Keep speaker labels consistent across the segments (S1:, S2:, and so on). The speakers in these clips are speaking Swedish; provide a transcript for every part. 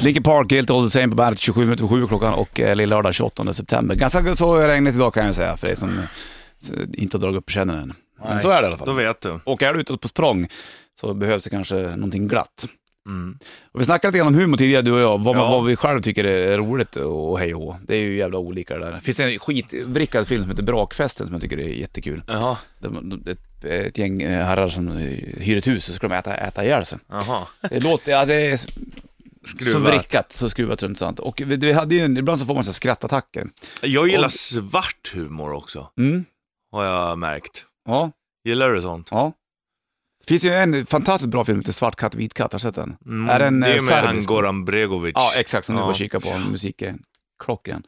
S1: Linkin Park, Guilt All The Same på bandet 27 minuter över 7 klockan och eh, lillördag 28 september. Ganska så regnigt idag kan jag säga för dig som eh, s- inte har dragit upp känningen än. Men
S2: Nej.
S1: så är det i alla
S2: Då
S1: fall.
S2: vet du.
S1: Och är du ute på språng så behövs det kanske någonting glatt.
S2: Mm.
S1: Och vi snackade lite grann om humor tidigare du och jag, vad, man,
S2: Ja.
S1: vad vi själv tycker är roligt och hej och hå. Det är ju jävla olika det där. Det finns en skitvrickad film som heter Brakfesten som jag tycker är jättekul.
S2: Jaha,
S1: De, de, ett, ett gäng eh, herrar som eh, hyr ett hus och så ska de äta, äta ihjäl sig.
S2: jaha.
S1: Det låter, ja det är så
S2: Skruvat.
S1: vrickat, så skruvat runt sånt. Och vi, vi hade ju, en- ibland så får man så här skrattattacker.
S2: Jag gillar
S1: Och-
S2: svart humor också,
S1: Mm,
S2: har jag märkt.
S1: ja,
S2: Gillar du sånt?
S1: ja. Det finns ju en fantastiskt bra film, till Svart katt, vit katt, har du sett den?
S2: Mm,
S1: Är den,
S2: det är
S1: eh,
S2: ju med han
S1: serbisk?
S2: Goran Bregovic.
S1: Ja, exakt, som du
S2: Ja.
S1: var och kika på, musiken, klockan.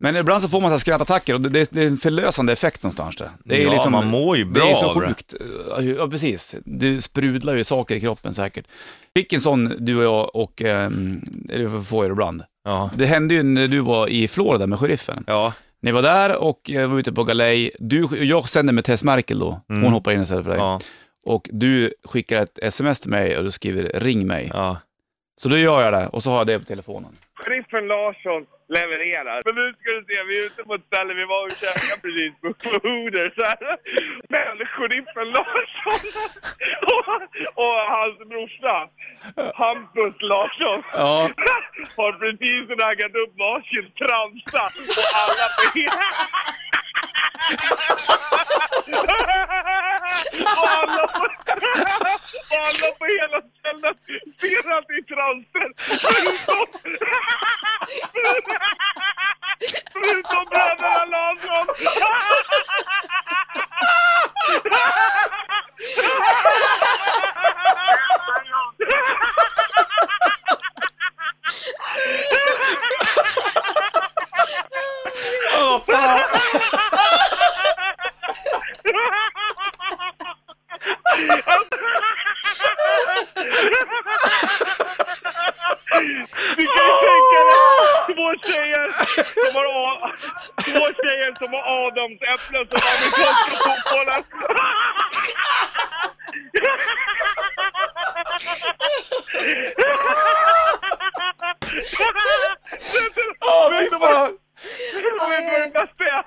S1: Men ibland så får man så här skrattattacker och det, det, det är en förlösande effekt någonstans där. Det är
S2: ja,
S1: liksom,
S2: man mår ju bra
S1: det är så
S2: av det.
S1: sjukt. eh, Ja, precis. Du sprudlar ju saker i kroppen säkert. Fick en sån, du och jag, och eh, det får jag ibland.
S2: Ja.
S1: Det hände ju när du var i Florida med sheriffen.
S2: ja,
S1: Ni var där och eh, var ute på galej. Du, jag sände med Tess Merkel då. Hon
S2: Mm.
S1: hoppar in istället för dig.
S2: ja,
S1: Och du skickar ett sms till mig och du skriver ring mig.
S2: ja.
S1: Så då gör jag det och så har jag det på telefonen.
S3: Sheriffen Larsson levererar. Men nu ska du se, vi är ute på ett ställe, vi var och käkade precis på Hooters här. Men sheriffen Larsson och, och hans brorsa, Hampus Larsson,
S1: Ja.
S3: har precis raggat upp varsin transa och alla på hela... och alla, och alla på hela stället stirrar till transen förutom... Förutom bröderna Larsson! Du kan ju tänka dig två tjejer som har, A- två tjejer som har adamsäpplen som amerikanska fotbollen. Vet du vad- vet du vad det bästa är?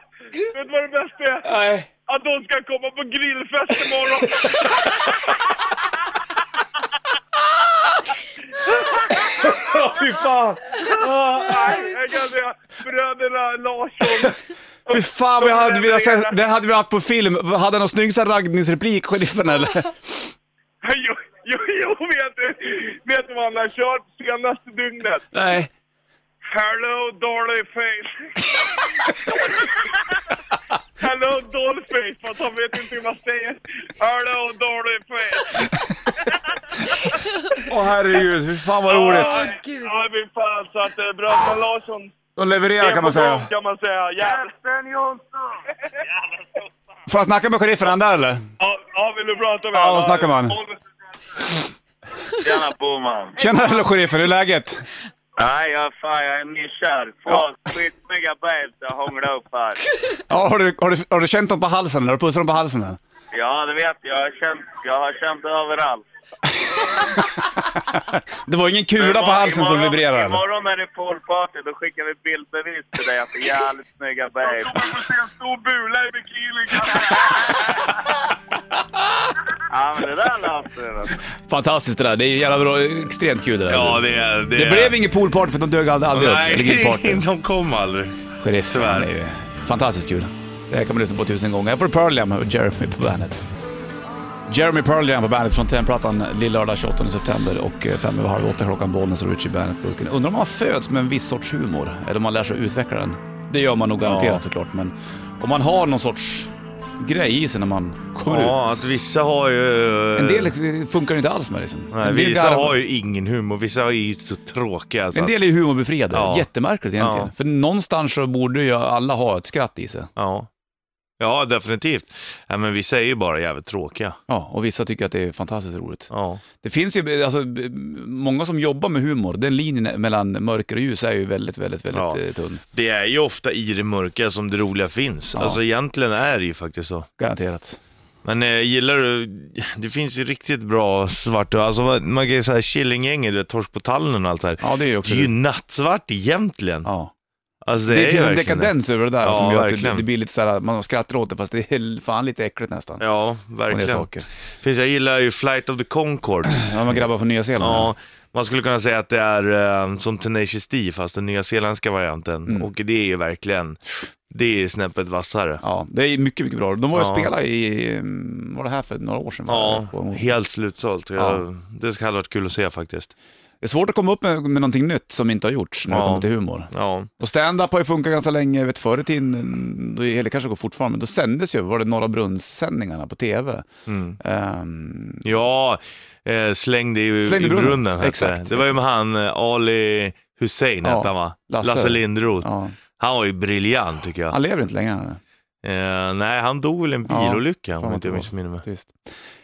S3: Vet du vad det bästa är?
S1: Nej.
S3: Att de ska komma på grillfest imorgon.
S1: Fy fan.
S3: Nej, jag kan säga bröderna Larsson.
S1: Fy fan vi hade velat se, det hade vi haft på film. Hade han någon snygg sån här raggningsreplik, sheriffen eller?
S3: Jo, jo, jo vet, du, vet du vad han har kört senaste dygnet?
S1: Nej.
S3: Hello Dollface. Hello Dollface, fast han vet inte hur man säger. Hello Dollface.
S1: Åh herregud, fy fan vad roligt.
S3: gud. Ja, fy fan. Så att eh, bröderna Larsson
S1: De levererar kan man säga.
S3: kan man säga. Jävlar.
S1: Får jag snacka med sheriffen, han där eller?
S3: Ja, ja, vill du prata med
S1: Ja,
S3: honom?
S1: vad snackar man?
S3: Håll-
S4: Tjena Boman!
S1: Tjena eller sheriffen, hur är läget?
S4: Nej, jag fan jag är nykär. Fan, skitsnygga babes jag hånglar upp här.
S1: Ja, har, du, har, du, har du känt dem på halsen eller? Har du pussat dem på halsen eller?
S4: Ja, det vet jag. Jag har känt, jag har känt överallt.
S1: Det var ingen kula på
S4: Imorgon-
S1: halsen som
S4: imorgon-
S1: vibrerade eller?
S4: Imorgon är det full party. Då skickar vi bildbevis till dig att det är jävligt snygga babes.
S3: Jag kommer få se en stor bula i bikini.
S4: Ja, men det där löser du. vet du.
S1: Fantastiskt det där, det är jävla bra, extremt kul det där.
S2: ja det är...
S1: det blev ingen poolparty för de dög aldrig, aldrig upp. Eller
S2: Nej,
S1: grillparty.
S2: de kom aldrig.
S1: Sheriffen,
S2: Tyvärr.
S1: han är ju fantastiskt kul. Det här kan man lyssna på tusen gånger. Här får du Pearl Jam och Jeremy på bandet. Jeremy Pearl Jam på bandet från 10-plattan Lillördag 28 september och eh, fem över halv åtta klockan Bollnäs och Richie Bandet-burken. Undrar om man föds med en viss sorts humor eller om man lär sig att utveckla den. Det gör man nog garanterat
S2: Ja.
S1: såklart men om man har någon sorts grej i sig när man kommer
S2: Ja,
S1: ut.
S2: att vissa har ju...
S1: En del funkar inte alls med liksom.
S2: Eh, Nej,
S1: en del
S2: vissa
S1: garvar-
S2: har ju ingen humor, vissa är ju så tråkiga. Så
S1: En
S2: att-
S1: del är ju humorbefriade.
S2: Ja.
S1: Jättemärkligt egentligen.
S2: Ja.
S1: För någonstans så borde ju alla ha ett skratt i sig.
S2: ja. ja, definitivt. Ja, men vissa är ju bara jävligt tråkiga.
S1: Ja, och vissa tycker att det är fantastiskt roligt.
S2: Ja.
S1: Det finns ju, alltså, b- många som jobbar med humor, den linjen mellan mörker och ljus är ju väldigt, väldigt, väldigt
S2: Ja.
S1: eh, tunn.
S2: Det är ju ofta i det mörka som det roliga finns.
S1: Ja.
S2: Alltså egentligen är det ju faktiskt så.
S1: Garanterat.
S2: Men eh, gillar du, det finns ju riktigt bra svart, alltså man, man kan ju säga Killinggänget, du vet, Torsk på tallen och allt det här.
S1: Ja, det är ju också
S2: Det är ju
S1: det.
S2: nattsvart egentligen.
S1: Ja.
S2: Alltså det,
S1: Det,
S2: är ju
S1: finns en
S2: verkligen det.
S1: dekadens över det där
S2: Ja,
S1: som gör att det,
S2: verkligen.
S1: det blir lite såhär, man skrattar åt det fast det är fan lite äckligt nästan.
S2: Ja,
S1: Och det är
S2: verkligen.
S1: saker.
S2: Finns, jag gillar ju Flight of the Conchords.
S1: Ja, man grabbar från Nya Zeeland.
S2: Ja, man skulle kunna säga att det är eh, som Tenacious D fast den nyzeeländska varianten.
S1: Mm.
S2: Och det är ju verkligen, det är snäppet vassare.
S1: Ja, det är mycket, mycket bra. De var ju
S2: Ja.
S1: och spelade i, mm, var det här för några år sedan?
S2: Ja,
S1: På-
S2: helt slutsålt.
S1: Ja.
S2: Ja. Det hade varit kul att se faktiskt.
S1: Det är svårt att komma upp med, med någonting nytt som inte har gjorts när det
S2: Ja.
S1: kommer till humor.
S2: Ja,
S1: Och stand-up har ju funkat ganska länge, jag vet förr i tiden, då, eller kanske går fortfarande, men då sändes ju, var det Norra Brunns-sändningarna på TV.
S2: Mm.
S1: Ehm,
S2: ja eh, släng det i,
S1: Släng det
S2: i
S1: i brunnen.
S2: brunnen, hette det.
S1: Exakt.
S2: Det var ju med han eh, Ali Hussein
S1: Ja,
S2: hette han va?
S1: Lasse.
S2: Lasse, Lindroth.
S1: ja.
S2: Han var ju briljant tycker jag.
S1: Han lever inte längre. han.
S2: Eh, nej, han dog väl i en
S1: Ja,
S2: bilolycka
S1: fan
S2: om inte jag
S1: vad
S2: missminner mig.
S1: Trist.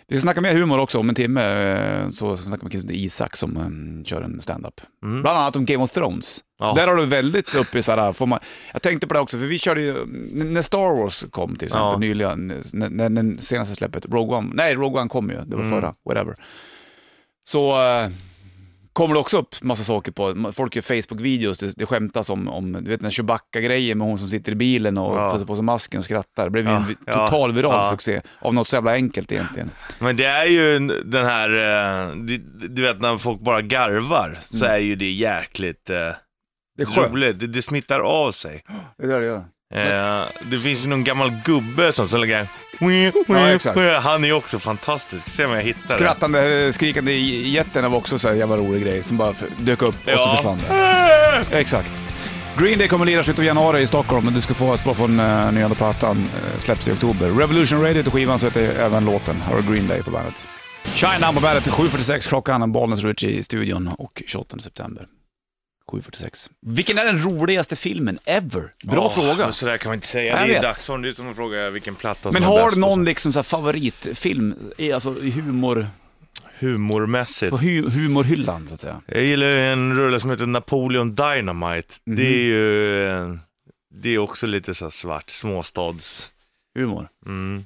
S1: Vi ska snacka mer humor också om en timme. eh, Så ska vi snacka med killen Isak som eh, kör en stand-up.
S2: Mm.
S1: Bland annat om Game of Thrones.
S2: Ja.
S1: Där har du väldigt uppe i sådär, får man, jag tänkte på det också, för vi körde ju, n- när Star Wars kom till exempel
S2: Ja.
S1: nyligen, n- när när senaste släppet, Rogue One, nej Rogue One kom ju, det var
S2: Mm.
S1: förra, whatever. Så eh, kommer det också upp massa saker på, folk gör Facebook-videos, det, det skämtas om, om, du vet den här Chewbacca-grejen med hon som sitter i bilen och
S2: Ja.
S1: sätter på sig masken och skrattar. Det blev ju en
S2: Ja,
S1: vi-
S2: ja,
S1: total viral
S2: ja.
S1: succé av något så jävla enkelt egentligen.
S2: Men det är ju en- den här, eh, du, du vet när folk bara garvar, så är ju det jäkligt eh,
S1: Mm. Det är skönt.
S2: roligt. Det, det smittar av sig.
S1: Det är det det gör.
S2: Eh, det finns ju någon gammal gubbe som så lägger
S1: Ja, exakt.
S2: Han är ju också fantastisk. Se om jag hittar det.
S1: Skrattande, eh, skrikande jätten var också så här jävla rolig grej som bara f- dök upp och så
S2: Ja.
S1: försvann det. Exakt. Green Day kommer lira slutet av januari i Stockholm, men du ska få ett spår från uh, nya plattan. eh, släpps i oktober. Revolution Radio till skivan så heter även låten. Här har du Green Day på bandet. Shine Down på bandet. 7.46 klockan. Bollnäs Richie i studion och 28 september. 7.46. Vilken är den roligaste filmen ever? Bra
S2: Ja,
S1: fråga.
S2: men Så där kan man inte säga.
S1: Jag
S2: det är
S1: vet.
S2: ju dagsform. Det är som att fråga vilken platta
S1: Men
S2: som är
S1: har
S2: bäst
S1: du
S2: och
S1: någon
S2: så.
S1: liksom så här favoritfilm, i- alltså i humor,
S2: Humormässigt.
S1: på hu- humorhyllan så att säga?
S2: Jag gillar ju en rulle som heter Napoleon Dynamite.
S1: Mhm.
S2: Det är ju... eh, Det är också lite så här svart, småstads...
S1: Humor.
S2: Mm.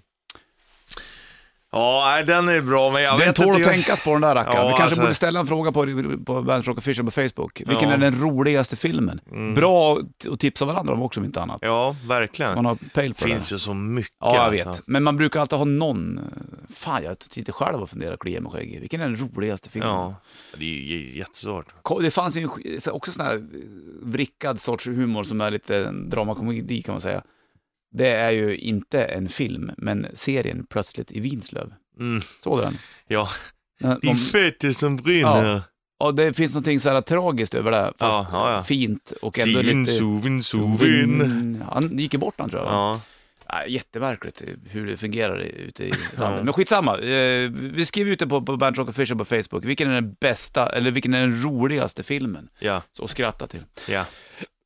S2: Ja, nej, den är bra, men jag
S1: den
S2: vet
S1: tål
S2: inte...
S1: att tänkas på den där rackaren.
S2: Ja,
S1: Vi kanske
S2: alltså-
S1: borde ställa en fråga på, på Bandet Rock Official på Facebook. Vilken
S2: Ja. Mm.
S1: är den roligaste filmen? Bra att- att tipsa varandra om också om inte annat.
S2: Ja, verkligen.
S1: Man har pejl på
S2: Det
S1: det.
S2: finns ju så mycket.
S1: Ja, jag vet.
S2: Alltså.
S1: Men man brukar alltid ha någon... eh, Fan, jag sitter själv och funderar och kliar mig i skägget. Vilken är den roligaste filmen?
S2: Ja, det är ju jättesvårt.
S1: Ko- Det fanns ju en sk- så- också sån här eh, vrickad sorts humor som är lite en dramakomedi kan man säga. Det är ju inte en film, men serien Plötsligt i Vinslöv.
S2: Mm.
S1: Såg du den?
S2: Ja,
S1: När
S2: det är
S1: de-
S2: fettet som brinner.
S1: Ja, det finns någonting så här tragiskt över det, här, fast
S2: Ja, ja, ja.
S1: fint och ändå
S2: Sivin,
S1: lite...
S2: sovin, sovin.
S1: Han gick ju bort han tror jag. Ja.
S2: Ja,
S1: jättemärkligt hur det fungerar ute i landet. Men skitsamma, eh, vi skriver ut det på, på Bernt Rock Official på Facebook. Vilken är den bästa, eller vilken är den roligaste filmen?
S2: ja,
S1: Så att skratta till.
S2: ja.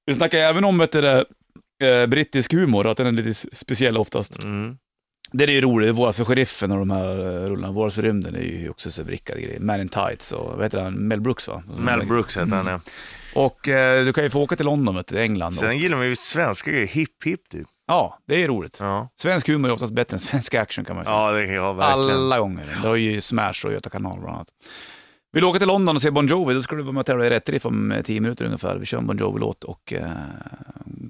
S1: Vi snackar även om vet du, det, eh, brittisk humor, att den är lite speciell oftast.
S2: Mm.
S1: Det är ju roligt, Vårat för sheriffen och de här eh, rullarna. Vårat för rymden är ju också så vrickade grejer. Man in Tights och, vad heter han, Mel Brooks va?
S2: Mel Brooks heter han, ja.
S1: Och eh, du kan ju få åka till London, vet du, England. Och,
S2: Sen gillar man ju svenska grejer. Hipp, hipp, typ.
S1: ja, det är roligt.
S2: Ja,
S1: Svensk humor är oftast bättre än svensk action kan man ju säga.
S2: ja, det, ja verkligen.
S1: Alla gånger. Det har ju Smash och Göta kanal bland annat. Vill du åka till London och se Bon Jovi, då ska du vara med och tävla i rätt riff om eh, 10 minuter ungefär. Vi kör en Bon Jovi-låt och eh,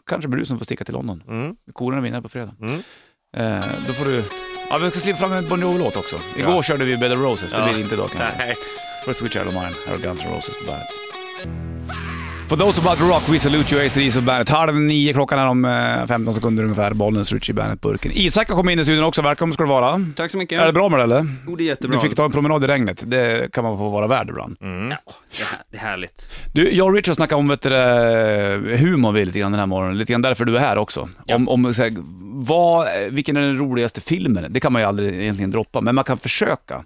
S1: kanske blir du som får sticka till London.
S2: Mm.
S1: Korna vinner på fredag.
S2: Mm.
S1: Eh, då får du... Ja, vi ska slippa fram en Bon Jovi-låt också. Igår körde vi Bed of Roses, det
S2: Ja.
S1: blir det inte idag kanske.
S2: Nej.
S1: First Switch Out of Mine, här har Guns N' Roses på bandet. For those about to rock, we salute you, AC och bandet. Halv nio klockan är om eh, 15 sekunder ungefär. Bollnäs, Richie, bandet-burken. Isak har kommit in i studion också, välkommen ska du vara.
S5: Tack så mycket.
S1: Är det bra med det eller?
S5: Jo, det är jättebra.
S1: Du fick ta en promenad i regnet, det kan man få vara värd ibland.
S5: ja, det, är, här- det är härligt.
S1: Du, jag och Richard snackade om vet du, det, humor vi lite grann den här morgonen, lite grann därför du är här också. Om, om så här, vad, vilken är den roligaste filmen? Det kan man ju aldrig egentligen droppa, men man kan försöka.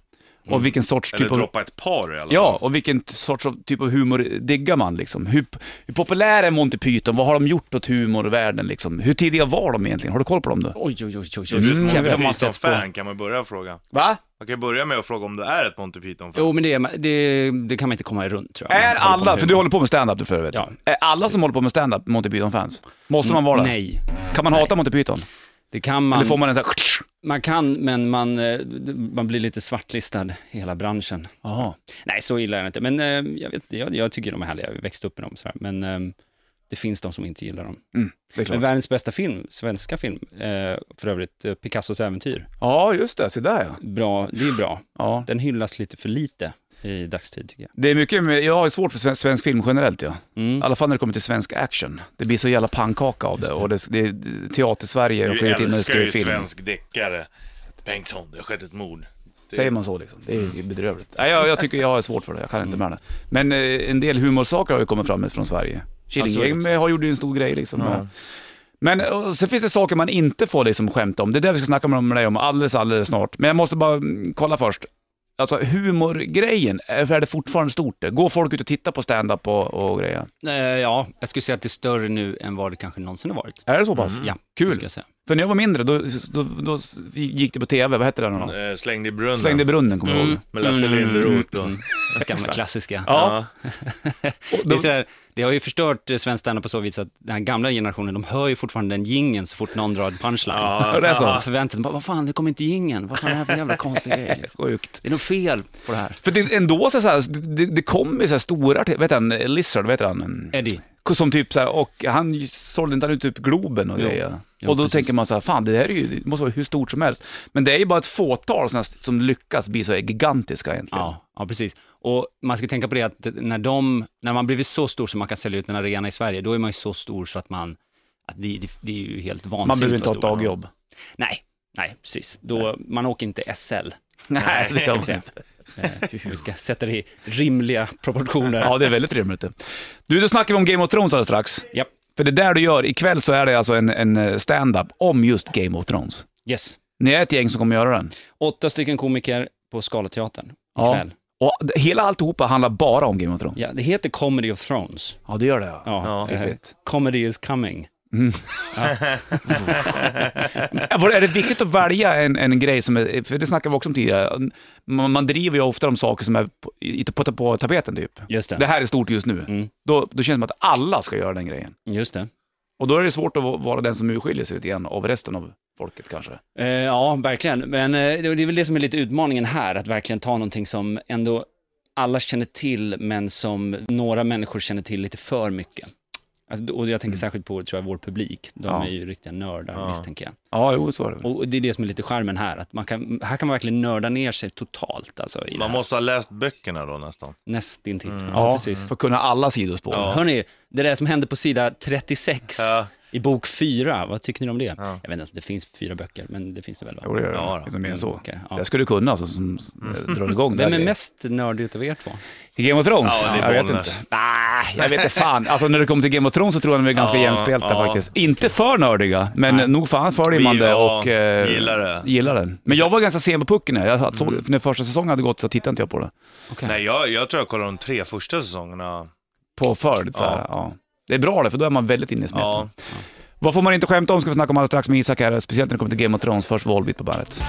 S1: Och vilken sorts
S2: Eller
S1: typ av...
S2: droppa ett par i alla fall.
S1: Ja, och vilken sorts av, typ av humor diggar man liksom? Hur, hur populär är Monty Python? Vad har de gjort åt humorvärlden liksom? Hur tidiga var de egentligen? Har du koll på dem du?
S5: Oj, oj, oj, oj. oj.
S1: Mm.
S2: Monty
S5: Jävlar, man sätts på.
S2: Python-fan kan man börja fråga.
S1: Va?
S2: Man kan börja med att fråga om du är ett Monty Python-fan.
S5: Jo, men det, är- det, det kan man inte komma runt tror jag.
S1: Är
S5: Man håller på
S1: alla,
S5: med
S1: för du
S5: humor.
S1: håller på med stand-up du förr vet du.
S5: Ja.
S1: Är alla som håller på med stand-up Monty Python-fans? Måste man vara det?
S5: Nej.
S1: Kan man hata Monty Python?
S5: Det kan man.
S1: Eller får man en sån här...
S5: Man kan, men man, eh, man blir lite svartlistad i hela branschen.
S1: Jaha.
S5: Nej, så illa är det inte. Men eh, jag, vet, jag, jag tycker de är härliga. Jag växte upp med dem. Sådär. Men eh, det finns de som inte gillar dem.
S1: Mm, det är
S5: Men
S1: klart.
S5: världens bästa film, svenska film, eh, för övrigt, eh, Picassos äventyr.
S1: Ja, just det. Se där ja.
S5: Bra, det är bra.
S1: ja.
S5: Den hyllas lite för lite i dagstid tycker jag.
S1: Det är mycket, med- jag har ju svårt för sven- svensk film generellt ja. I
S5: Mm.
S1: alla fall när det kommer till svensk action. Det blir så jävla pannkaka av det. Och det, det är teater-Sverige och
S2: Du
S1: klivit in och
S2: älskar ju
S1: skrivit film.
S2: svensk deckare. Bengtsson, det har skett ett mord.
S1: Säger man så liksom? Det är ju bedrövligt. Nej, jag, jag tycker jag har svårt för det. Jag kan inte med det. Men eh, en del humorsaker har ju kommit fram från Sverige. Killinggäng
S5: också.
S1: med- har gjort ju en stor grej liksom. Men eh, och sen finns det saker man inte får liksom skämta om. Det är det vi ska snacka med med dig om alldeles, alldeles snart. Men jag måste bara mm, kolla först. Alltså humorgrejen, är är det fortfarande stort? det? Går folk ut och tittar på stand-up och, och grejer?
S5: Eh, ja, jag skulle säga att det är större nu än vad det kanske någonsin har varit.
S1: Är det så pass?
S5: Ja,
S1: Mm. Kul.
S5: det ska jag säga.
S1: För när jag var mindre, då, då, då gick det på tv, vad hette det nu då?
S2: Eh, Slängde i Mm. brunnen.
S1: Slängde i brunnen, kommer jag ihåg.
S2: Med Lasse Linderoth och...
S5: Gamla klassiska.
S1: Ja.
S5: Det, är sådär, det har ju förstört eh, svensk standup på så vis att den här gamla generationen, de hör ju fortfarande den jingeln så fort någon drar en punchline.
S1: Ja, det är så.
S5: Och förväntan, bara, vad fan, det kommer inte jingeln. Vad fan är det här för jävla konstig grej? Liksom.
S1: Sjukt.
S5: Det är något fel på det här.
S1: För det, ändå så, så här, det, det kommer ju så här stora artister, vet han, Lizard, vet han?
S5: Eddie.
S1: Som typ så här, och han ju- sålde inte han ut typ Globen och
S5: Jo.
S1: grejer.
S5: Jo,
S1: och då
S5: precis.
S1: tänker man så här, fan det här är ju, det måste vara hur stort som helst. Men det är ju bara ett fåtal såna, här som lyckas bli så här gigantiska egentligen.
S5: Ja, ja, precis. Och man ska tänka på det att när, de, när man blivit så stor så man kan sälja ut en arena i Sverige, då är man ju så stor så att man, att det, det, det är ju helt vansinnigt.
S1: man behöver inte ha
S5: vad
S1: ett
S5: stor man är.
S1: dagjobb.
S5: Nej, nej, precis. Då, Man åker inte SL.
S1: Nej, det kan man
S5: säga.
S1: inte.
S5: Eh, vi ska sätta det i rimliga proportioner.
S1: Ja, det är väldigt rimligt det. Du, då snackar vi om Game of Thrones alldeles strax.
S5: Japp.
S1: För det där du gör, ikväll så är det alltså en, en eh, stand-up om just Game of Thrones.
S5: Yes.
S1: Ni är ett gäng som kommer göra den.
S5: Åtta stycken komiker på Scalateatern
S1: Ja.
S5: ikväll.
S1: Och d- hela alltihopa handlar bara om Game of Thrones.
S5: Ja, det heter Comedy of Thrones.
S1: Ja, det gör det ja.
S5: Ja, eh,
S1: fiffigt.
S5: Comedy is coming.
S1: Ja, vad- Är det viktigt att välja en, en grej som är, för det snackade vi också om tidigare, man, man driver ju ofta om saker som är på, i- på, på tapeten typ.
S5: Just det.
S1: Det här är stort just nu.
S5: Mm.
S1: Då, då känns det som att alla ska göra den grejen.
S5: Just det.
S1: Och då är det svårt att va- vara den som urskiljer sig lite grann av resten av folket kanske.
S5: Eh, ja, verkligen. Men eh, det det är väl det som är lite utmaningen här, att verkligen ta någonting som ändå alla känner till, men som några människor känner till lite för mycket. Alltså, och jag tänker särskilt på tror jag, vår publik. De
S1: Mm. Ja.
S5: är ju riktiga nördar, misstänker jag.
S1: Ja, jo, så är det.
S5: Och det är det som är lite charmen här, att man kan, här kan man verkligen nörda ner sig totalt. Alltså, i det
S2: Man Mm.
S5: här.
S2: måste ha läst böckerna då nästan.
S5: Nästintill. Ja,
S1: Ja,
S5: precis.
S1: för att kunna alla sidospår.
S5: Hörni, det där som hände på sida 36
S2: Ja.
S5: i bok 4, vad tycker ni om det? Jag vet inte, det finns fyra böcker, men det finns det väl? Va?
S1: Jo, det gör det.
S2: Ja, då.
S1: Liksom mer än så.
S5: Okej, ja.
S1: Jag skulle kunna alltså, som eh, drar igång det
S5: Vem
S1: här
S5: är
S1: grejen.
S5: mest nördig utav er två?
S1: I Game of Thrones?
S2: Ja, det är
S1: jag vet
S2: Bollnäs.
S1: inte. Nej, jag vet inte fan. Alltså när det kommer till Game of Thrones så tror jag att vi är ganska
S2: Ja,
S1: jämspelta
S2: ja.
S1: faktiskt. Inte för nördiga, men nog fan följer man
S2: Vi,
S1: det
S2: ja,
S1: och eh,
S2: gillar det. Mm.
S1: gillar den. Men jag var ganska sen på pucken här. Jag såg, för när första säsongen hade gått så tittade inte jag på det.
S5: Okej.
S2: Nej, jag, jag tror jag kollade de tre första säsongerna.
S1: På förr, lite så här,
S2: Ja.
S1: ja. Det är bra det, för då är man väldigt inne i smeten.
S2: Ja.
S1: Vad får man inte skämta om ska vi snacka om alldeles strax med Isak här, speciellt när det kommer till Game of Thrones. Först Volbeat på bandet.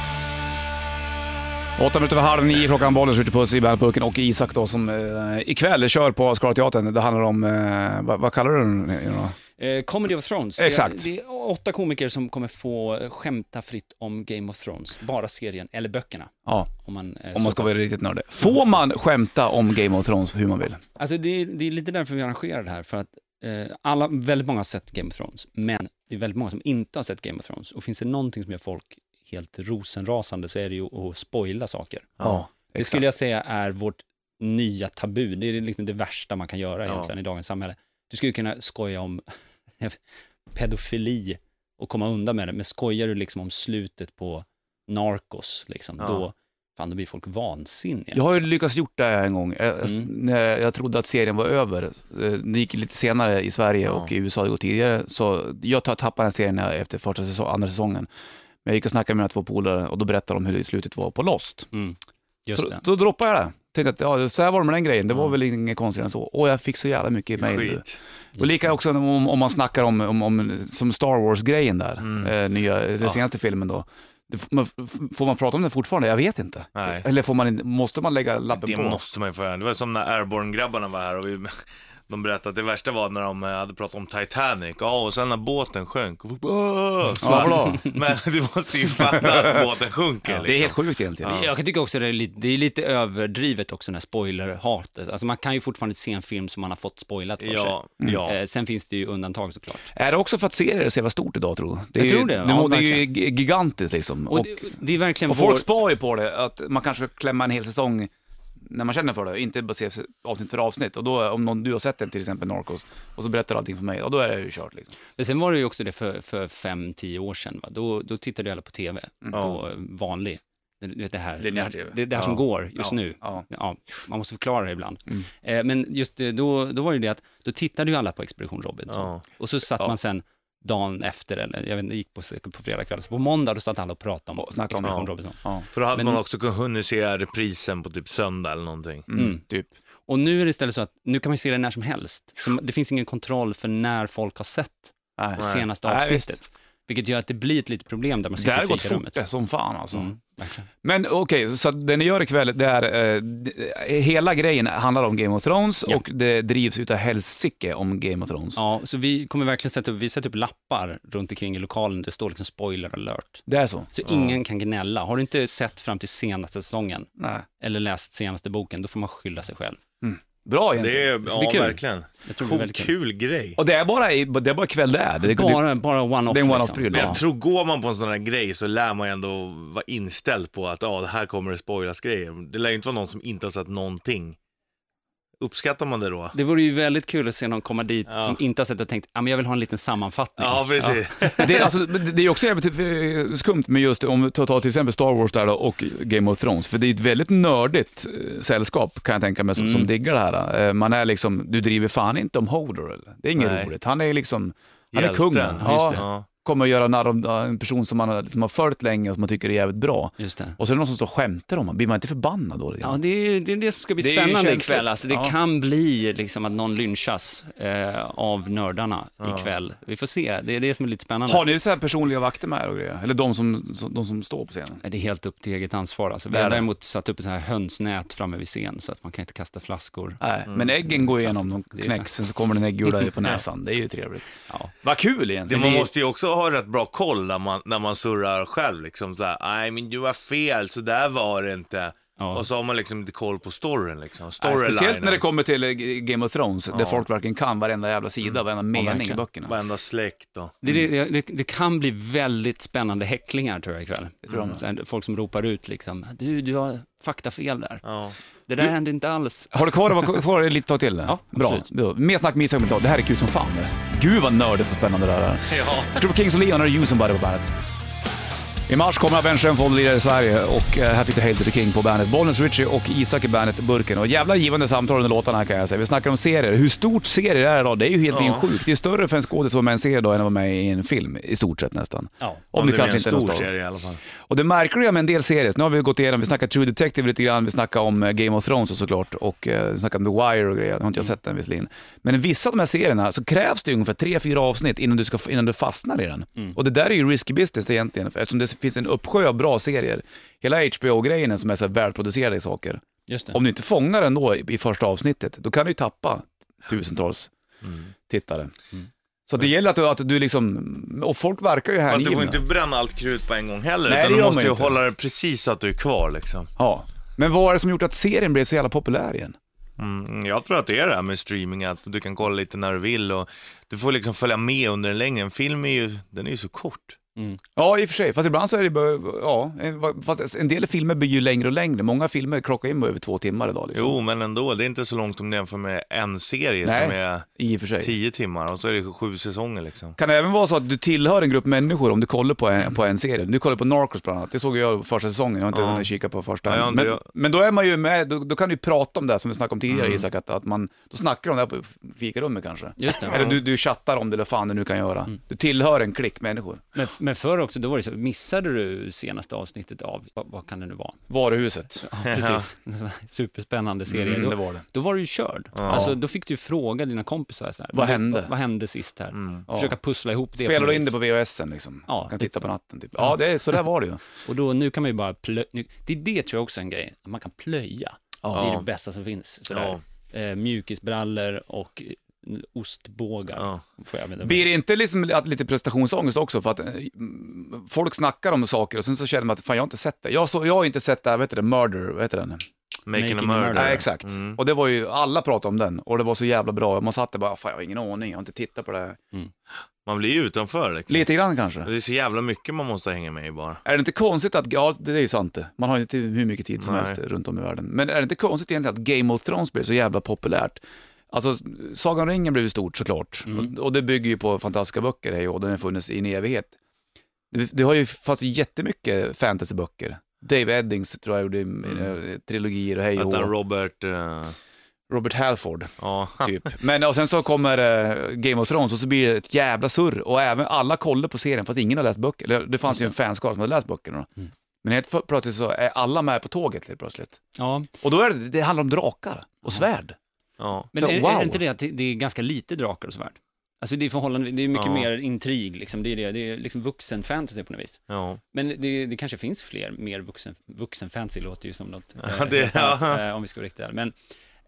S1: Åtta minuter över halv nio, klockan bollen skjuter puss i bandpurken och Isak då som eh, ikväll kör på Scalateatern. Det handlar om, eh, vad, vad kallar du den? Jan då?
S5: Eh, Comedy of Thrones.
S1: Exakt.
S5: Det är, det är åtta komiker som kommer få skämta fritt om Game of Thrones, bara serien eller böckerna.
S1: Ja,
S5: Om man, eh,
S1: om
S5: så
S1: man ska
S5: pass-
S1: vara riktigt nördig. Får man skämta om Game of Thrones hur man vill?
S5: Alltså det, är, det är lite därför vi arrangerar det här, för att eh, alla, väldigt många har sett Game of Thrones, men det är väldigt många som inte har sett Game of Thrones. Och finns det någonting som gör folk helt rosenrasande så är det ju att spoila saker.
S1: Ja,
S5: Det skulle jag säga är vårt nya tabu. Det är liksom det värsta man kan göra egentligen i dagens samhälle. Du skulle kunna skoja om pedofili och komma undan med det, men skojar du liksom om slutet på Narcos, liksom, då, fan, då blir folk vansinniga.
S1: Jag har ju lyckats gjort det här en gång. Jag,
S5: Liksom.
S1: alltså,
S5: Mm.
S1: När jag trodde att serien var över, eh, det gick lite senare i Sverige och i USA det går tidigare, så jag ta- tappade den serien när- efter första säsong, andra säsongen. Men jag gick och snackade med mina två polare och då berättade de hur det slutet var på Lost.
S5: Mm. Just
S1: Så,
S5: det.
S1: då droppade jag det. Tänkte att ja, så här var det med den grejen, det var väl inget konstigt än så. Och jag fick så jävla mycket mejl. du.
S2: Skit.
S1: Och lika också om, om man snackar om, om, om som Star Wars-grejen där,
S5: Mm.
S1: eh, nya, den senaste filmen då. Det, f- man, f- får man prata om den fortfarande? Jag vet inte.
S2: Nej.
S1: Eller får man, inte- måste man lägga lappen
S2: Det
S1: på?
S2: måste man ju få göra. Det var som när Airborne-grabbarna var här och vi De berättade att det värsta var när de eh, hade pratat om Titanic, ja och sen när båten sjönk. Och, Åh! Så
S1: Varför
S2: bara,
S1: då?
S2: Men du måste ju fatta att båten sjunker
S1: Det är
S2: liksom.
S1: helt sjukt egentligen.
S5: Jag kan tycka också att det är lite, det är lite överdrivet också, det här spoilerhatet. Alltså man kan ju fortfarande se en film som man har fått spoilat för
S2: Ja,
S5: sig.
S2: ja.
S5: Eh, sen finns det ju undantag såklart.
S1: Är det också för att serier är så jävla stort idag tror du? Det är
S5: Jag
S1: ju,
S5: tror det,
S1: Det,
S5: ja,
S1: må- det är ju gi- gigantiskt liksom.
S5: Och,
S1: Och, och,
S5: det, det är verkligen vår...
S1: folk spar ju på det, att man kanske ska klämma en hel säsong när man känner för det, inte bara se avsnitt för avsnitt. Och då, om någon, du har sett den till exempel Narcos, och så berättar du allting för mig, och då är det ju kört liksom.
S5: Men sen var det ju också det för, för fem, tio år sedan. Va? Då, då tittade ju alla på tv,
S1: Mm.
S5: på eh, vanlig. Du vet det här, det
S1: Linjär
S5: här,
S1: TV.
S5: det, det här som
S1: Ja.
S5: går just
S1: Ja,
S5: nu.
S1: ja. Mm.
S5: man måste förklara det ibland. Eh, men just eh, då, då var det ju det att då tittade ju alla på Expedition Robinson.
S2: Ja.
S5: Och så satt man sen dagen efter, eller jag vet inte, gick på, på fredag kväll. Så på måndag då satt alla och pratade om
S1: Och snacka om-
S5: Expedition
S1: ja.
S5: Robinson.
S1: Ja,
S2: För då hade
S5: Men-
S2: man också kunnat hunnit se reprisen på typ söndag eller någonting.
S1: mm,
S5: Mm.
S1: typ.
S5: Och nu är det istället så att nu kan man ju se det när som helst. Så det finns ingen kontroll för när folk har sett
S1: Nej.
S5: det senaste
S1: Nej,
S5: avsnittet.
S1: visst.
S5: vilket gör att det blir ett litet problem där man
S1: Det
S5: sitter
S1: här har
S5: i
S1: gått fort
S5: fikarummet.
S1: det, som fan alltså.
S5: Mm.
S1: Men okej, så att det ni gör ikväll, det är, eh, d- hela grejen handlar om Game of Thrones
S5: Ja.
S1: och det drivs utav helsike om Game of Thrones.
S5: Ja, så vi kommer verkligen sätta upp, vi sätter upp lappar runt omkring i lokalen där det står liksom spoiler alert.
S1: Det är så?
S5: Så ingen kan gnälla. Har du inte sett fram till senaste säsongen
S1: Nej.
S5: eller läst senaste boken, då får man skylla sig själv.
S1: Bra
S2: Det
S1: egentligen.
S2: är,
S5: ska bli
S2: ja
S5: kul.
S2: verkligen.
S5: Jag tror det är
S2: Cool,
S5: väldigt kul.
S2: kul grej.
S1: Och det är bara, i- det är bara ikväll det är? Det, det,
S5: Bara, bara one-off.
S1: det är en one-off
S5: liksom.
S1: pryl.
S2: Men
S1: Ja.
S2: jag tror går man på en sån här grej så lär man ju ändå vara inställd på att ja, det här kommer det spoilas grejer. Det lär ju inte vara någon som inte har sett någonting. Uppskattar man det då?
S5: Det vore ju väldigt kul att se någon komma dit
S2: Ja.
S5: som inte har sett och tänkt, ja men jag vill ha en liten sammanfattning.
S2: Ja, precis.
S1: Det, är alltså, men det det är också jävligt eh, skumt med just, om vi tar tar till exempel Star Wars där då, och Game of Thrones, för det är ett väldigt nördigt eh, sällskap kan jag tänka mig som,
S5: Mm.
S1: som diggar det här. Eh, Man är liksom, du driver fan inte om Hodor eller? Det är inget
S2: Nej.
S1: roligt. Han är liksom, han är
S2: Hjälten.
S1: kungen.
S2: Ja,
S1: Ja,
S5: just det.
S2: Ja.
S1: Kommer att göra narr om eh, en person som man har, som har följt länge och som man tycker är jävligt bra.
S5: Just det.
S1: Och så är det någon som står och skämtar om honom. Blir man inte förbannad då?
S5: Ja, det är, det är det som ska bli
S1: Det är ju
S5: spännande
S1: känsligt.
S5: ikväll. Alltså, det
S1: Ja.
S5: kan bli liksom att någon lynchas eh, av nördarna ikväll. Vi får se, det är det som är lite spännande.
S1: Har ni så här personliga vakter med er och grejer? Eller de som, som- de som står på scenen?
S5: Det är helt upp till eget ansvar. Alltså. Vi
S1: Det är
S5: har
S1: det.
S5: däremot satt upp ett så här hönsnät framme vid scen så att man kan inte kasta flaskor.
S1: Nej, men äggen går igenom, de
S5: Det Mm, är
S1: knäcks, sen så kommer den äggula på näsan. Det är ju trevligt.
S5: Ja.
S1: Vad kul
S2: Det,
S1: egentligen.
S2: man
S1: Vi-
S2: måste ju också ha rätt bra koll när man, när man surrar själv. Liksom så här, nej men du har fel, så där var det inte.
S5: Ja.
S2: Och så har man liksom inte koll på storyn liksom.
S1: Nej,
S2: Storylinen.
S1: Speciellt när det kommer till eh, Game of Thrones, där folk verkligen kan varenda jävla sida, varenda mening i
S5: Mm. verkligen.
S1: böckerna.
S2: Varenda släkt och...
S5: Det,
S1: Mm.
S5: det, det, det kan bli väldigt spännande häcklingar tror jag ikväll.
S1: tror jag med.
S5: Så här, Folk som ropar ut liksom, du, du har faktafel där.
S2: Ja.
S5: Det där hände inte alls.
S1: Har du kvar, vad- kvar ett litet tag till?
S5: Ja,
S1: Bra.
S5: absolut.
S1: Då, Mer snack med Isak om ett tag. Det här är kul som fan. det. Gud vad nördigt och spännande det här är. Ja. Tror på Kings och Leon och Usen Body på bandet. I mars kommer Avenged Sevenfold lira i Sverige och eh, här fick du Hail to the King på bandet. Bollnäs Richie och Isak i bandet Burken. Och jävla givande samtal under låtarna här kan jag säga. Vi snackar om serier. Hur stort serier är idag, det är ju helt ja. sjukt. Det är större för en skådis att vara med i en serie idag än att vara med i en film, i stort sett nästan.
S5: Ja.
S1: Om, det,
S2: blir
S1: kanske
S2: en
S1: inte är
S2: stor
S1: någon
S2: serie i alla fall.
S1: och det märkliga med en del serier, nu har vi gått igenom, vi snackar True Detective lite grann, vi snackar om eh, Game of Thrones och såklart och eh, vi snackar om The Wire och grejer, nu har
S2: Mm.
S1: inte jag sett den visserligen. Men vissa av de här serierna så krävs det ungefär tre, fyra avsnitt innan du, ska, innan du fastnar i den.
S2: Mm.
S1: Och det där är ju risky business egentligen, för eftersom det finns en uppsjö av bra serier. Hela HBO-grejen är som är så här välproducerade saker.
S5: Just det.
S1: Om du inte fångar den då i, i första avsnittet, då kan du ju tappa tusentals
S2: Mm.
S1: tittare. Så det gäller att du, att du liksom, och folk verkar ju
S2: Fast
S1: hängivna.
S2: du får inte bränna allt krut på en gång heller.
S1: Nej,
S2: utan
S1: det
S2: du
S1: gör
S2: måste
S1: man
S2: ju
S1: inte.
S2: hålla det precis så att du är kvar liksom.
S1: Ja. Men vad är det som gjort att serien blev så jävla populär igen?
S2: Mm, jag tror att det är det här med streaming, att du kan kolla lite när du vill och du får liksom följa med under en längre. En film är ju, den är ju så kort.
S1: Ja, i och för sig. Fast ibland så är det bara, ja, en- fast en del filmer blir ju längre och längre. Många filmer krockar in på över två timmar idag liksom.
S2: Jo, men ändå, det är inte så långt om du jämför med en serie
S1: Nej,
S2: som är
S1: i och för sig.
S2: tio timmar och så är det sju säsonger liksom.
S1: Kan det även vara så att du tillhör en grupp människor om du kollar på en, på en serie? Du kollar på Narcos bland annat, det såg jag första säsongen, jag har inte
S2: Ja.
S1: hunnit kika på första.
S2: Ja, jag har inte- Mm.
S1: men,
S2: jag-
S1: men då är man ju med, då, då kan du ju prata om det här som vi snackade om tidigare Isak, att, att man, då snackar de där på fikarummet kanske.
S5: Just det. Mm.
S1: Eller du, du chattar om det eller vad fan du nu kan göra. Du tillhör en klick människor.
S5: Men, men förr också, då var det så, missade du senaste avsnittet av, vad, vad kan det nu vara?
S1: Varuhuset.
S5: Ja, precis. Superspännande serie.
S1: Mm,
S5: då,
S1: det var det.
S5: då var du ju körd. Alltså, då fick du ju fråga dina kompisar. Så här,
S1: Vad
S5: "Men,
S1: hände?" Mm.
S5: Vad, vad hände sist här? Försöka pussla ihop det.
S1: Spelar du
S5: på något
S1: in det
S5: vis.
S1: på VHSen liksom?
S5: Ja,
S1: kan
S5: lite
S1: titta på
S5: så.
S1: natten typ. Ja, det är, så där var det ju.
S5: Och då, nu kan man ju bara plö... nu, Det är det tror jag också är en grej, att man kan plöja. Det är det bästa som finns. Sådär.
S2: Ja.
S5: eh, mjukisbrallor och eh, ostbågar.
S2: Ja.
S5: Får jag använda
S1: Blir det inte liksom att lite prestationsångest också? För att eh, mm, folk snackar om saker och sen så känner man att fan, jag har inte sett det. Jag, så, jag har inte sett det här, vad heter det, Murder, vad heter den?
S2: Making,
S5: Making
S2: a
S5: a
S2: murder.
S5: murder.
S1: Nej, exakt.
S2: Mm.
S1: Och det var ju, alla pratade om den och det var så jävla bra. Man satt där bara, fan jag har ingen aning, jag har inte tittat på det här.
S2: Man blir ju utanför liksom.
S1: Lite grann kanske.
S2: Det är så jävla mycket man måste hänga med i bara.
S1: Är det inte konstigt att, ja det är ju sant det, man har ju inte hur mycket tid som
S2: Nej.
S1: helst runt om i världen. Men är det inte konstigt egentligen att Game of Thrones blir så jävla populärt? Alltså, Sagan om ringen blev ju stort såklart.
S2: Mm.
S1: Och, och det bygger ju på fantastiska böcker, hej och den har funnits i en evighet. Det, det har ju fanns ju jättemycket fantasyböcker. Dave Eddings tror jag gjorde mm. trilogier och hej
S2: Att han
S1: och
S2: Robert, eh,
S1: Robert Halford.
S2: ja.
S1: Typ. Men och sen så kommer eh, Game of Thrones och så blir det ett jävla surr och även alla kollar på serien fast ingen har läst böcker. Eller, Det fanns ju en fanskara som hade läst böckerna. då. Men helt för- plötsligt så är alla med på tåget helt plötsligt.
S5: Ja,
S1: Och då är det, det handlar om drakar och svärd.
S2: ja.
S5: men
S1: Ja,
S5: är, är
S1: wow.
S5: det inte det att det, det är ganska lite drakar och svärd? Alltså det är förhållande, det är mycket
S2: Ja.
S5: mer intrig liksom. Det är, det, det är liksom vuxen fantasy på något vis.
S2: ja.
S5: Men det, det kanske finns fler, mer vuxen, vuxen fantasy låter ju som något eh,
S2: Ja, det-
S5: helt annat,
S2: ja.
S5: eh, om vi ska vara riktiga där. Men,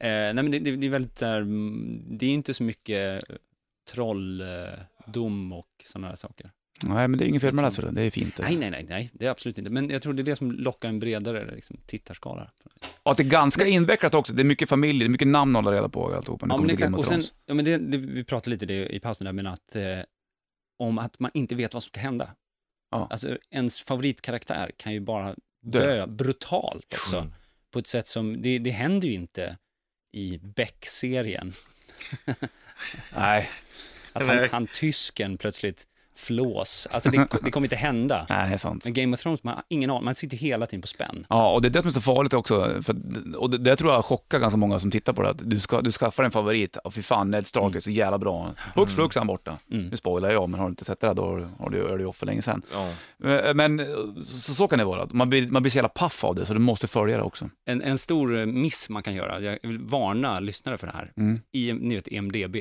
S5: eh, nej, men det, det, det är väldigt så här, mm, det är inte så mycket trolldom och sådana här saker.
S1: Nej, men det är inget fel med det, så det det är fint.
S5: Nej,
S1: Det.
S5: nej, nej, nej, det är absolut inte. Men jag tror det är det som lockar en bredare liksom, tittarskala.
S1: Och att det är ganska invecklat också. Det är mycket familj, det är mycket namn att hålla reda på och alltihopa. när det
S5: Ja,
S1: kommer
S5: men
S1: till
S5: exakt.
S1: Game of
S5: Och sen,
S1: Thrones.
S5: ja, men det, det, vi pratade lite det i pausen där, men att eh, om att man inte vet vad som ska hända.
S1: Ja.
S5: Alltså ens favoritkaraktär kan ju bara
S1: Dö.
S5: dö, brutalt också.
S2: Mm.
S5: På ett sätt som, det, det händer ju inte i Beck-serien.
S1: Nej,
S5: Att
S2: Nej.
S5: han, han tysken plötsligt flås. Alltså det, det kommer inte hända.
S1: nej, det är sant.
S5: Men Game of Thrones, man har ingen aning, man sitter hela tiden på spänn.
S1: Ja, och det är det som är så farligt också. För, och det, det tror jag chockar ganska många som tittar på det. Att du, ska, du skaffar en favorit, och fy fan Ned
S5: Mm.
S1: Stark är så jävla bra. Hux flux är han borta. Nu spoilar jag, men har du inte sett det här då har du- har du, är du off för länge sedan.
S2: ja.
S1: Men- Men så, så kan det vara. Man blir, man blir så jävla paff av det, så du måste följa det också.
S5: En, en stor eh, miss man kan göra, jag vill varna lyssnare för det här,
S1: Mm.
S5: I, ni vet E EMDB,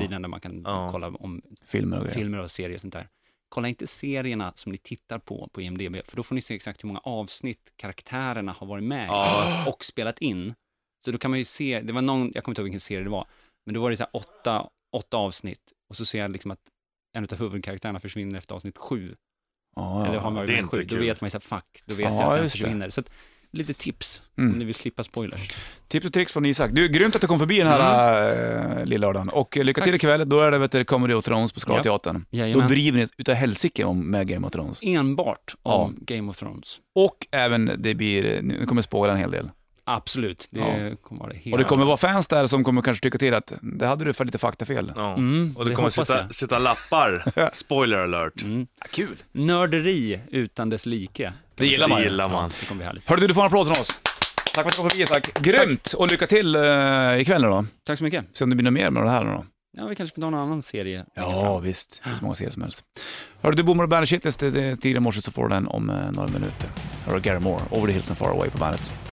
S5: sidan där man kan
S2: Ja.
S5: kolla om
S1: Filmer och grejer.
S5: filmer och serier och sånt där. Kolla inte serierna som ni tittar på E på IMDB, för då får ni se exakt hur många avsnitt karaktärerna har varit med i
S2: Ja.
S5: och spelat in. Så då kan man ju se, det var någon, jag kommer inte ihåg vilken serie det var, men då var det så här åtta, åtta avsnitt och så ser jag liksom att en av huvudkaraktärerna försvinner efter avsnitt sju.
S1: Ja,
S5: Eller har man
S2: det är
S5: varit med
S2: inte
S5: sju, då
S2: kul.
S5: vet man ju så här, fuck, då vet
S1: Ja,
S5: jag att den
S1: just det.
S5: försvinner. Så att, lite tips
S1: Mm.
S5: om ni vill slippa spoilers.
S1: Tips och tricks från Isak. Du, grymt att du kom förbi den här äh, lilla lördagen. Och eh, lycka till ikväll, då är det vet du, Comedy of Thrones på Scalateatern. Då
S5: Jajamän.
S1: driver ni utav helsike om med Game of Thrones.
S5: Enbart om Game of Thrones.
S1: Och även, det blir, nu kommer jag spoila en hel del.
S5: Absolut, det
S1: Ja.
S5: kommer vara det
S1: Och det
S5: hela.
S1: kommer vara fans där som kommer kanske tycka till att det hade du för lite faktafel.
S2: ja.
S5: Mm,
S2: Och det
S5: det
S2: kommer
S5: hoppas
S2: sitta,
S5: jag.
S2: sitta lappar, spoiler alert.
S1: kul.
S5: Nörderi utan dess like.
S1: Det gillar man
S2: Det
S1: ju.
S2: gillar man.
S5: Det kommer bli härligt.
S1: Hörru du, du får en applåd från oss. Tack för att du kom förbi Isak. Grymt! Och lycka till uh, ikväll nu då.
S5: Tack så mycket.
S1: Se om det blir något mer med det här nu då.
S5: Ja, vi kanske får ta någon annan serie. längre
S1: Ja,
S5: fram.
S1: visst. Det finns många serier som helst. Hörru du, Boomer och Bandet Shitlist, det är tidigare i morse så får du den om eh, några minuter. Hörru, Gary Moore, Over the Hills and Far Away på bandet.